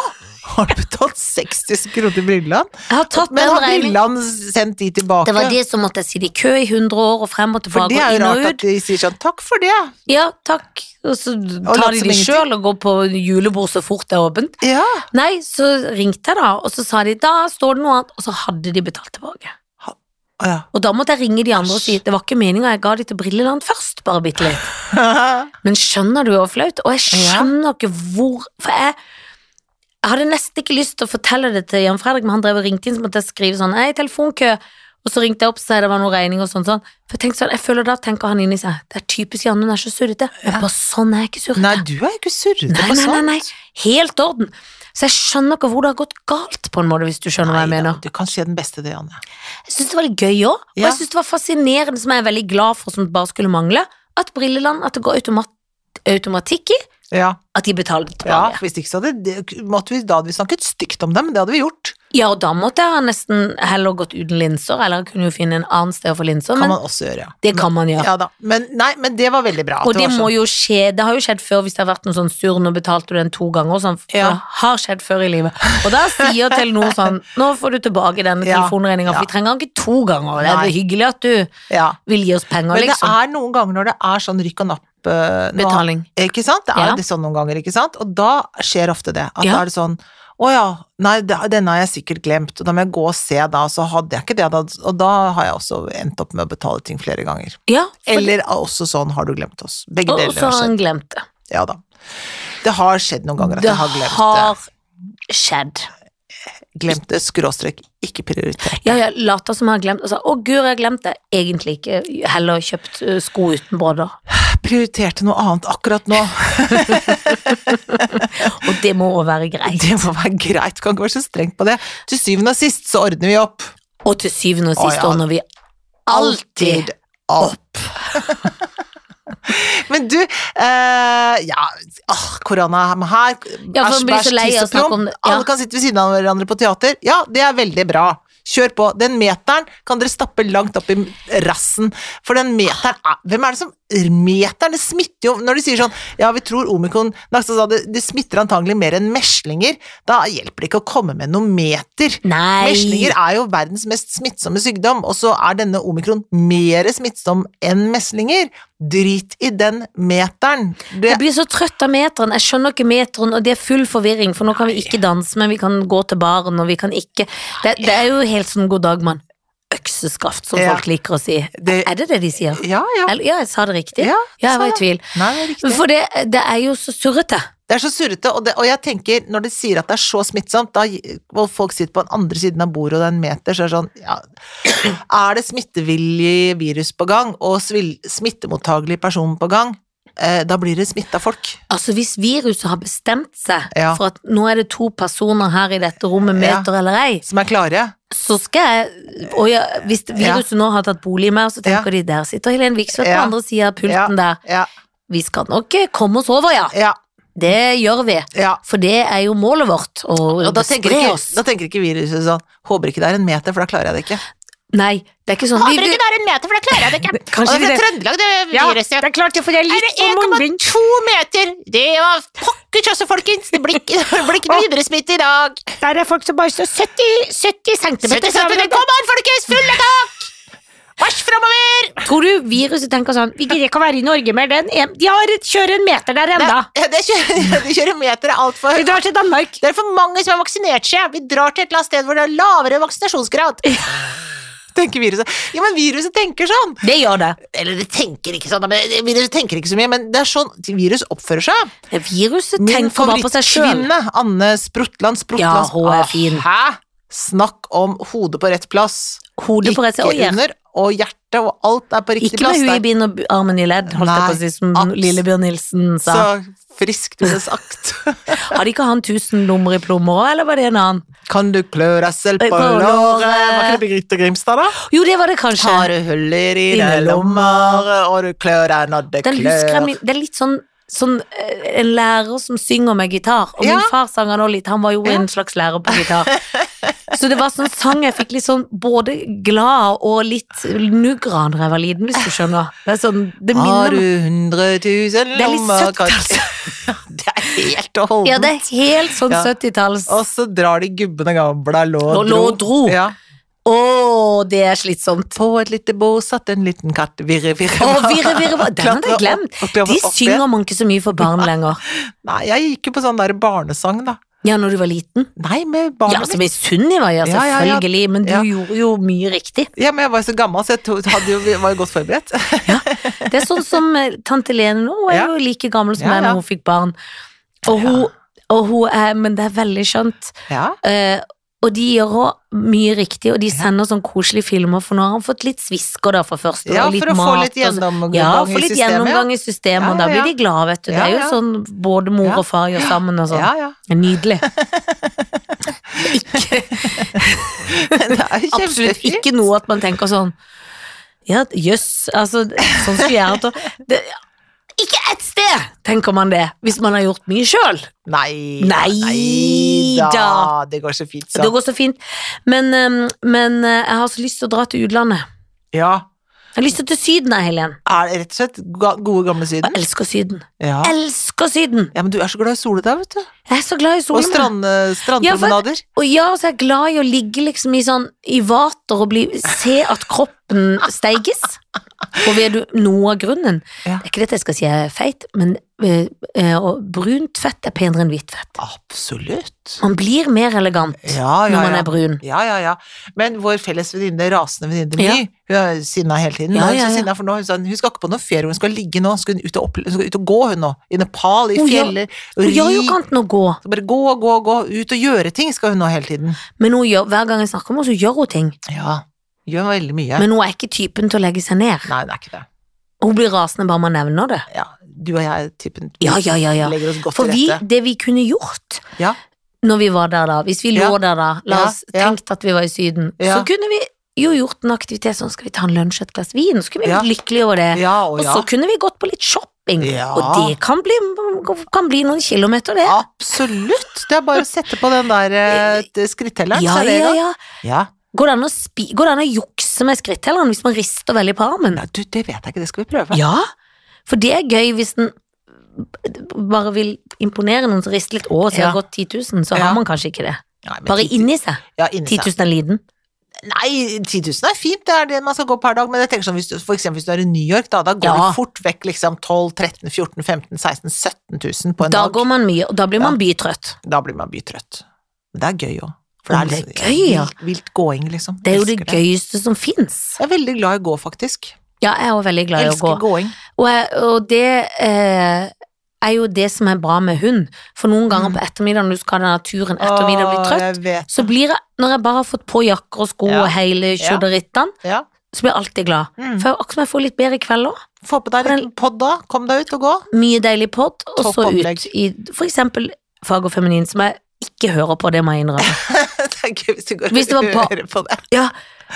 Speaker 1: Har du betalt 60 kroner til Brylland?
Speaker 2: Jeg har tatt
Speaker 1: Men
Speaker 2: den
Speaker 1: har
Speaker 2: regningen.
Speaker 1: Brylland sendt de tilbake?
Speaker 2: Det var de som måtte sitte i kø i 100 år og frem og
Speaker 1: For
Speaker 2: tilbake
Speaker 1: det er
Speaker 2: og
Speaker 1: jo
Speaker 2: inn
Speaker 1: rart
Speaker 2: og
Speaker 1: at
Speaker 2: ut.
Speaker 1: de sier sånn 'takk for det'.
Speaker 2: Ja, takk. Og så
Speaker 1: latt
Speaker 2: tar de
Speaker 1: som
Speaker 2: de
Speaker 1: ingenting.
Speaker 2: sjøl og går på julebord så fort det er åpent.
Speaker 1: Ja.
Speaker 2: Nei, så ringte jeg da, og så sa de da står det noe annet, og så hadde de betalt tilbake.
Speaker 1: Å, ja.
Speaker 2: Og da måtte jeg ringe de andre og si det var ikke meninga, jeg ga de til Brilleland først, bare bitte litt. Men skjønner du hvor flaut? Og jeg skjønner ikke hvor For jeg, jeg hadde nesten ikke lyst til å fortelle det til Jan Fredrik, men han drev og ringte inn, så måtte jeg skrive sånn Hei, telefonkø. Og så ringte jeg opp og sa det var noen regninger og sånn. sånn. For jeg tenkte sånn, jeg føler da tenker han inni seg Det er typisk Jan, hun er så surrete. Jeg bare sånn er jeg ikke surrete.
Speaker 1: Nei, du er jo ikke surrete
Speaker 2: Nei,
Speaker 1: på
Speaker 2: nei, nei,
Speaker 1: sånt.
Speaker 2: nei. Helt orden. Så jeg skjønner ikke hvor det har gått galt, på en måte, hvis du skjønner hva jeg
Speaker 1: Neida,
Speaker 2: mener.
Speaker 1: Du kan skje den beste, det, Anne.
Speaker 2: Jeg syns det var litt gøy òg, og
Speaker 1: Ja.
Speaker 2: jeg syns det var fascinerende, som jeg er veldig glad for, som bare skulle mangle, at Brilleland, at det går automat automatikk i
Speaker 1: Ja.
Speaker 2: at de betaler
Speaker 1: ja,
Speaker 2: tilbake. Ja.
Speaker 1: hvis ikke så hadde det, måtte vi, da hadde vi snakket stygt om dem, det hadde vi gjort.
Speaker 2: og da måtte jeg ha nesten heller gått uten linser, eller jeg kunne jo finne en annen sted å få linser,
Speaker 1: Kan
Speaker 2: men
Speaker 1: man også gjøre, ja.
Speaker 2: det kan man
Speaker 1: ja.
Speaker 2: gjøre.
Speaker 1: ja da. Men, nei, men det var veldig bra. at
Speaker 2: og det
Speaker 1: var
Speaker 2: må
Speaker 1: sånn.
Speaker 2: jo skje, det har jo skjedd før hvis det har vært noe sånn surr, nå betalte du den to ganger og sånn, for
Speaker 1: Ja.
Speaker 2: det har skjedd før i livet. Og da sier Telenor sånn, nå får du tilbake denne
Speaker 1: Ja,
Speaker 2: telefonregninga,
Speaker 1: ja.
Speaker 2: for vi trenger den ikke to ganger, det er
Speaker 1: Nei.
Speaker 2: vel hyggelig at du
Speaker 1: ja.
Speaker 2: vil gi oss penger,
Speaker 1: Men det
Speaker 2: liksom.
Speaker 1: er noen ganger når det er sånn rykk og napp eh, nå-
Speaker 2: Betaling.
Speaker 1: Ikke sant? Det er
Speaker 2: Ja.
Speaker 1: det sånn noen ganger, ikke sant? Og da skjer ofte det. At
Speaker 2: Ja.
Speaker 1: da er det sånn å ja, nei, det- denne har jeg sikkert glemt, og da må jeg gå og se da, og så hadde jeg ikke det, da, og da har jeg også endt opp med å betale ting flere ganger.
Speaker 2: Ja, for-
Speaker 1: Eller også sånn har du glemt oss. Begge
Speaker 2: og
Speaker 1: deler
Speaker 2: så
Speaker 1: har
Speaker 2: har
Speaker 1: skjedd.
Speaker 2: han glemt det.
Speaker 1: Ja da. Det har skjedd noen ganger at
Speaker 2: Det
Speaker 1: jeg har glemt
Speaker 2: har skjedd.
Speaker 1: det. Glemt det, skråstrek, ikke prioritert.
Speaker 2: Ja, jeg later som jeg har glemt altså, Å, guri, jeg har glemt det. Egentlig ikke. Heller kjøpt eh, sko uten brodder.
Speaker 1: Jeg prioriterte noe annet akkurat nå.
Speaker 2: Og det må også være greit.
Speaker 1: Det må være greit, kan ikke være så strengt på det. Til syvende og sist så ordner vi opp.
Speaker 2: Og til syvende og
Speaker 1: Å,
Speaker 2: sist
Speaker 1: ja.
Speaker 2: ordner vi alltid
Speaker 1: opp. Men du, eh, ja, åh, korona er her,
Speaker 2: Ja, for man blir så lei av å
Speaker 1: tiss og
Speaker 2: snakke
Speaker 1: prom.
Speaker 2: om det, ja.
Speaker 1: Alle kan sitte ved siden av hverandre på teater. Ja, det er veldig bra. Kjør på. Den meteren kan dere stappe langt opp i rassen, for den meteren er Hvem er det som Meteren, det smitter jo Når de sier sånn Ja, vi tror omikron Nakstad sa det, det smitter antagelig mer enn meslinger. Da hjelper det ikke å komme med noen meter.
Speaker 2: Nei.
Speaker 1: Meslinger er jo verdens mest smittsomme sykdom, og så er denne omikron mer smittsom enn meslinger. Drit i den meteren. Det,
Speaker 2: Jeg blir så trøtt av meteren. Jeg skjønner ikke meteren, og det er full forvirring, for nå kan vi ikke danse, men vi kan gå til baren, og vi kan ikke Det, det er jo helt sånn god dag, mann. Økseskaft, som
Speaker 1: Ja.
Speaker 2: folk liker å si.
Speaker 1: Det-
Speaker 2: Er det det de sier?
Speaker 1: ja, ja.
Speaker 2: Eller, ja, jeg sa det riktig.
Speaker 1: Ja,
Speaker 2: jeg
Speaker 1: sa
Speaker 2: var i
Speaker 1: det.
Speaker 2: tvil.
Speaker 1: Nei, det er riktig.
Speaker 2: For det, det er jo så surrete.
Speaker 1: Det er så surrete, og, det, og jeg tenker, når de sier at det er så smittsomt, da, og folk sitter på den andre siden av bordet og det er en meter, så er det sånn ja, Er det smittevillig virus på gang, og svil- smittemottagelig person på gang, eh, da blir det smitta folk.
Speaker 2: Altså Hvis viruset har bestemt seg
Speaker 1: Ja.
Speaker 2: for at nå er det to personer her i dette rommet,
Speaker 1: Ja.
Speaker 2: meter eller ei,
Speaker 1: Som er klare.
Speaker 2: så skal jeg Og ja, hvis viruset nå har tatt bolig i meg, så tenker de der sitter Helen Viksvedt på
Speaker 1: Ja.
Speaker 2: andre sida av pulten
Speaker 1: Ja. der.
Speaker 2: der.
Speaker 1: Ja,
Speaker 2: Vi skal nok eh, komme oss over, ja.
Speaker 1: ja,
Speaker 2: Det gjør vi.
Speaker 1: ja.
Speaker 2: For det er jo målet vårt, å
Speaker 1: Og da tenker,
Speaker 2: spre
Speaker 1: ikke,
Speaker 2: oss.
Speaker 1: da tenker ikke viruset sånn Håper ikke det er en meter, for da klarer jeg det ikke.
Speaker 2: Nei, det er ikke sånn
Speaker 3: Håper ikke det er en meter, for det klarer jeg det ikke.
Speaker 2: Kanskje
Speaker 3: Og det er
Speaker 2: det-
Speaker 3: fra Trøndelag, det viruset.
Speaker 2: er klart det, for jeg
Speaker 3: er det 1,2 meter? Det var pokker tjøsse, folkens. Det blir ikke det blir ikke noe virussmitte i dag.
Speaker 2: Der er folk som bare står 70, 70
Speaker 3: 70 cm. Kom an, folkens! Full attack! Marsj framover!
Speaker 2: Tror du viruset tenker sånn Vi gidder ikke å være i Norge mer. Den en, de har et, kjører en meter der enda.
Speaker 1: Ja, det kjører, det kjører meter er altfor
Speaker 2: Vi drar til Danmark.
Speaker 3: Det er for mange som har vaksinert seg. Vi drar til et eller annet sted hvor det er lavere vaksinasjonsgrad.
Speaker 1: tenker viruset. Ja, men viruset tenker sånn!
Speaker 2: Det gjør det.
Speaker 1: Eller det tenker ikke sånn, da, men det- viruset tenker ikke så mye, men det er sånn virus oppfører seg.
Speaker 2: Viruset
Speaker 1: Min
Speaker 2: tenker bare på seg sjøl.
Speaker 1: favorittkvinne, Anne Sprotland Sprotland
Speaker 2: Ja, hun er fin.
Speaker 1: Hæ? Snakk om hodet på rett plass.
Speaker 2: Hodet på rett side.
Speaker 1: Ikke
Speaker 2: og hjertet.
Speaker 1: under, og hjertet, og alt er på riktig
Speaker 2: Ikke
Speaker 1: plass.
Speaker 2: med huet
Speaker 1: der.
Speaker 2: i bind og b- armen i ledd, holdt jeg
Speaker 1: Nei,
Speaker 2: på å si, som
Speaker 1: abs-
Speaker 2: Lillebjørn Nilsen sa.
Speaker 1: Så friskt ble det sagt.
Speaker 2: Hadde ikke han tusen lommer i plommer òg, eller var det en annen?
Speaker 1: Kan du klø deg selv på
Speaker 2: På
Speaker 1: låret?
Speaker 2: låret.
Speaker 1: Var ikke det Birgitte Grimstad, da?
Speaker 2: Jo, det var det kanskje.
Speaker 1: Har du huller i
Speaker 2: Inni
Speaker 1: dine lommer, og du klør deg når det
Speaker 2: Den husker jeg
Speaker 1: klør?
Speaker 2: min Det er litt sånn Sånn, eh, en lærer som synger med gitar Og
Speaker 1: Ja.
Speaker 2: min far sang han også litt Han var jo en slags lærer på gitar Så det var sånn sang jeg fikk litt sånn Både glad og litt nuggra Når jeg var liten, hvis du skjønner Det er sånn, det
Speaker 1: Har
Speaker 2: minner
Speaker 1: du
Speaker 2: meg
Speaker 1: hundre tusen
Speaker 2: Det er litt
Speaker 1: lommer
Speaker 2: søtt, altså.
Speaker 1: Det er helt og holdent.
Speaker 2: Ja, det er helt sånn
Speaker 1: Ja.
Speaker 2: 70-talls
Speaker 1: Og så drar de gubbene gamla lå
Speaker 2: Lå-
Speaker 1: og
Speaker 2: lå
Speaker 1: dro.
Speaker 2: og dro.
Speaker 1: Ja.
Speaker 2: Å, det er slitsomt.
Speaker 1: På et lite bo satt en liten katt, virre, virre.
Speaker 2: Å, virre, virre, virre. Den hadde
Speaker 1: Klatre
Speaker 2: jeg
Speaker 1: opp-
Speaker 2: glemt.
Speaker 1: og klatre
Speaker 2: De
Speaker 1: opp
Speaker 2: synger
Speaker 1: igjen.
Speaker 2: man ikke så mye for barn lenger.
Speaker 1: Nei, jeg gikk jo på sånn der barnesang, da.
Speaker 2: Ja, når du var liten.
Speaker 1: Nei, med
Speaker 2: Ja,
Speaker 1: barna
Speaker 2: som i Sunniva, ja,
Speaker 1: Ja, ja, ja.
Speaker 2: selvfølgelig. Men du
Speaker 1: Ja.
Speaker 2: gjorde jo mye riktig.
Speaker 1: Ja, men jeg var jo så gammel, så jeg to- hadde jo, var jo godt forberedt.
Speaker 2: Det er sånn som eh, tante Lene nå, hun er
Speaker 1: Ja.
Speaker 2: jo like gammel som
Speaker 1: Ja,
Speaker 2: meg
Speaker 1: ja.
Speaker 2: når hun fikk barn. Og hun, og hun er, men det er veldig skjønt.
Speaker 1: Ja,
Speaker 2: Eh, og de gjør også mye riktig, og de sender sånn koselige filmer, for nå har han fått litt svisker da fra første,
Speaker 1: ja
Speaker 2: og litt
Speaker 1: for å få
Speaker 2: mat
Speaker 1: litt
Speaker 2: og så-
Speaker 1: gjennomgang
Speaker 2: ja,
Speaker 1: i
Speaker 2: få litt
Speaker 1: systemet.
Speaker 2: gjennomgang i systemet, og
Speaker 1: Ja,
Speaker 2: da
Speaker 1: ja,
Speaker 2: blir
Speaker 1: ja.
Speaker 2: de glad, vet du. Det
Speaker 1: Ja,
Speaker 2: er jo
Speaker 1: ja.
Speaker 2: sånn både mor
Speaker 1: Ja.
Speaker 2: og far gjør sammen og sånn.
Speaker 1: Ja, ja.
Speaker 2: Nydelig. Ikke,
Speaker 1: Det er jo
Speaker 2: absolutt
Speaker 1: kjempefint.
Speaker 2: ikke noe at man tenker sånn Ja, jøss, altså sånn skulle jeg hatt det. det. Ikke ett sted, tenker man det, hvis man har gjort mye sjøl.
Speaker 1: Nei,
Speaker 2: Nei da.
Speaker 1: Det går så fint
Speaker 2: Det
Speaker 1: sånn.
Speaker 2: går så fint. Men, um, men uh, jeg har så lyst til å dra til utlandet.
Speaker 1: Ja.
Speaker 2: Jeg har lyst til å til Syden, jeg, Helen.
Speaker 1: Er det rett og slett ga- gode, gamle Syden?
Speaker 2: Jeg elsker Syden.
Speaker 1: Ja.
Speaker 2: Elsker Syden!
Speaker 1: ja, men du er så glad i sola der, vet du.
Speaker 2: Jeg er så glad i
Speaker 1: Og
Speaker 2: solen.
Speaker 1: strand, strandpromenader.
Speaker 2: Og ja, så er jeg glad i å ligge liksom i sånn i vater og bli, se at kroppen steiges. Og vet du noe av grunnen?
Speaker 1: Ja.
Speaker 2: Det er ikke dette jeg skal si jeg er feit, men eh, eh, og brunt fett er penere enn hvitt fett.
Speaker 1: Absolutt.
Speaker 2: Man blir mer elegant
Speaker 1: Ja,
Speaker 2: når
Speaker 1: ja,
Speaker 2: man
Speaker 1: ja.
Speaker 2: er brun.
Speaker 1: Ja, ja, ja. Men vår felles venninne, rasende venninne
Speaker 2: Ja.
Speaker 1: My, hun er sinna hele tiden.
Speaker 2: Ja,
Speaker 1: Nå er hun
Speaker 2: ja,
Speaker 1: så
Speaker 2: ja.
Speaker 1: sinna, for nå, hun, sa, hun skal ikke på noen ferie, hun skal ligge nå. Hun skal ut og, opple hun skal ut og gå, hun nå. I Nepal, i
Speaker 2: Hun gjør-
Speaker 1: fjeller.
Speaker 2: Hun
Speaker 1: ri.
Speaker 2: gjør jo ikke annet enn å gå,
Speaker 1: Så Bare gå, gå, gå. Ut og gjøre ting skal hun nå hele tiden.
Speaker 2: men hun gjør, hver gang jeg snakker med henne, så gjør hun ting.
Speaker 1: Ja. Gjør veldig mye.
Speaker 2: Men hun er ikke typen til å legge seg ned.
Speaker 1: Nei, det er ikke det.
Speaker 2: Hun blir rasende bare man nevner det.
Speaker 1: Ja. Du og jeg er typen
Speaker 2: Ja, ja, ja, ja.
Speaker 1: legger oss godt
Speaker 2: For
Speaker 1: til
Speaker 2: vi,
Speaker 1: rette.
Speaker 2: det vi kunne gjort
Speaker 1: Ja.
Speaker 2: når vi var der da, hvis vi lå
Speaker 1: Ja.
Speaker 2: der da, la
Speaker 1: Ja,
Speaker 2: oss
Speaker 1: ja.
Speaker 2: tenkt at vi var i Syden, så
Speaker 1: Ja.
Speaker 2: kunne vi jo gjort en aktivitet sånn, skal vi ta en lunsj og et glass vin, så kunne vi
Speaker 1: Ja.
Speaker 2: vært lykkelige over det.
Speaker 1: Ja og
Speaker 2: Og
Speaker 1: ja.
Speaker 2: så kunne vi gått på litt shopping,
Speaker 1: Ja.
Speaker 2: og det kan bli, kan bli noen kilometer det.
Speaker 1: Absolutt. Det er bare å sette på den der eh, skrittelleren,
Speaker 2: Ja,
Speaker 1: så er det i
Speaker 2: ja,
Speaker 1: gang.
Speaker 2: ja.
Speaker 1: Ja.
Speaker 2: Går det an å, spi, går det an å jukse med skrittelleren hvis man rister veldig på armen?
Speaker 1: Nei, du, det vet jeg ikke, det skal vi prøve.
Speaker 2: Ja, for det er gøy hvis den bare vil imponere noen som rister litt Å, så jeg har
Speaker 1: Ja.
Speaker 2: gått 10 000, så
Speaker 1: Ja.
Speaker 2: har man kanskje ikke det.
Speaker 1: Nei, men
Speaker 2: Bare
Speaker 1: ti-
Speaker 2: inni seg.
Speaker 1: Ja, inni
Speaker 2: 10
Speaker 1: seg.
Speaker 2: 000 er liten.
Speaker 1: Nei, 10 000 er fint, det er det man skal gå per dag, men jeg tenker sånn, hvis du, for eksempel hvis du er i New York, da, da går
Speaker 2: Ja.
Speaker 1: du fort vekk liksom 12 000, 13 000, 14 000, 15 000, 16 000, 17 000 på en
Speaker 2: Da
Speaker 1: dag.
Speaker 2: går man mye, og da blir man bytrøtt.
Speaker 1: Da blir man bytrøtt. Men det er gøy òg.
Speaker 2: Å, det er gøy, ja.
Speaker 1: vilt, vilt gåing, liksom.
Speaker 2: Det er jo det
Speaker 1: Elsker
Speaker 2: gøyeste som fins.
Speaker 1: Jeg er veldig glad i å gå, faktisk.
Speaker 2: Ja, jeg er jo veldig glad i å gå.
Speaker 1: Elsker gåing.
Speaker 2: Og, jeg, og det eh, er jo det som er bra med hund. For noen ganger
Speaker 1: Mm.
Speaker 2: på ettermiddagen når du skal ha denne turen ettermiddag og blir
Speaker 1: Åh,
Speaker 2: trøtt,
Speaker 1: Jeg eh, vet.
Speaker 2: så blir jeg, når jeg bare har fått på jakker og sko
Speaker 1: Ja.
Speaker 2: og hele
Speaker 1: Ja.
Speaker 2: kjødderitten,
Speaker 1: Ja.
Speaker 2: så blir jeg alltid glad.
Speaker 1: Mm.
Speaker 2: For jeg, akkurat som jeg får litt bedre i kveld òg.
Speaker 1: Få på deg en liten pod, da. Kom deg ut og gå.
Speaker 2: Mye deilig pod, og
Speaker 1: Topp
Speaker 2: så ut
Speaker 1: opplegg.
Speaker 2: i for eksempel Fag og Feminin, som jeg ikke hører på, det må jeg innrømme.
Speaker 1: det er gøy hvis du går
Speaker 2: Hvis det
Speaker 1: og
Speaker 2: var ba-
Speaker 1: hører på det.
Speaker 2: Ja,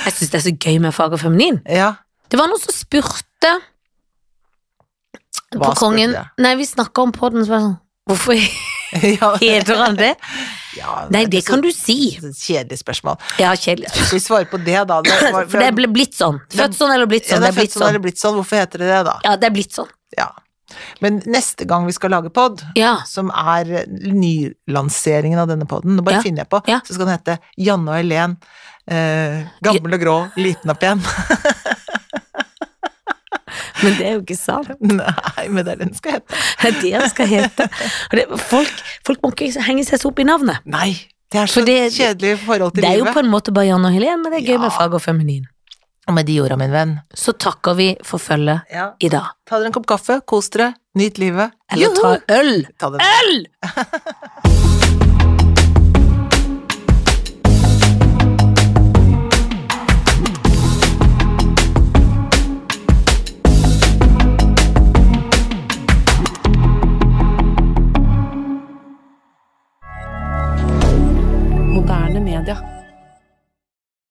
Speaker 2: jeg syns det er så gøy med Fag og Feminin.
Speaker 1: Ja.
Speaker 2: Det var noen som spurte på
Speaker 1: Hva spurte
Speaker 2: kongen
Speaker 1: jeg?
Speaker 2: Nei, vi snakka om podden, så var jeg sånn Hvorfor
Speaker 1: ja.
Speaker 2: heter han det?
Speaker 1: Ja,
Speaker 2: Nei, det
Speaker 1: så-
Speaker 2: kan du si.
Speaker 1: Kjedelig spørsmål.
Speaker 2: Ja, kjedelig.
Speaker 1: Skal vi svare på det, da? Det var-
Speaker 2: For det er blitt sånn. Født sånn eller blitt
Speaker 1: Ja,
Speaker 2: sånn.
Speaker 1: det er
Speaker 2: Det er blitt
Speaker 1: født sånn
Speaker 2: sånn.
Speaker 1: eller blitt sånn, hvorfor heter det det da?
Speaker 2: Ja, det er blitt sånn.
Speaker 1: Ja. Men neste gang vi skal lage pod,
Speaker 2: Ja.
Speaker 1: som er nylanseringen av denne poden, nå bare
Speaker 2: Ja.
Speaker 1: finner jeg på,
Speaker 2: Ja.
Speaker 1: så skal den hete Janne og Helen. Eh, gammel og grå, liten og pen.
Speaker 2: Men det er jo ikke sant.
Speaker 1: Nei, men det er det den skal hete.
Speaker 2: Det er det han skal hete. Og det, folk, folk må ikke henge seg så opp i navnet.
Speaker 1: Nei, det er så
Speaker 2: For det-
Speaker 1: kjedelig forhold til
Speaker 2: Det er jo
Speaker 1: livet.
Speaker 2: på en måte bare Jan og Helen, men det er gøy
Speaker 1: Ja.
Speaker 2: med fag og feminin.
Speaker 1: Og med de orda, min venn.
Speaker 2: Så takker vi for følget
Speaker 1: Ja.
Speaker 2: i dag.
Speaker 1: Ta dere en kopp kaffe, kos dere, nyt livet.
Speaker 2: Eller
Speaker 1: Juhu!
Speaker 2: ta øl.
Speaker 1: Ta den.
Speaker 2: Øl!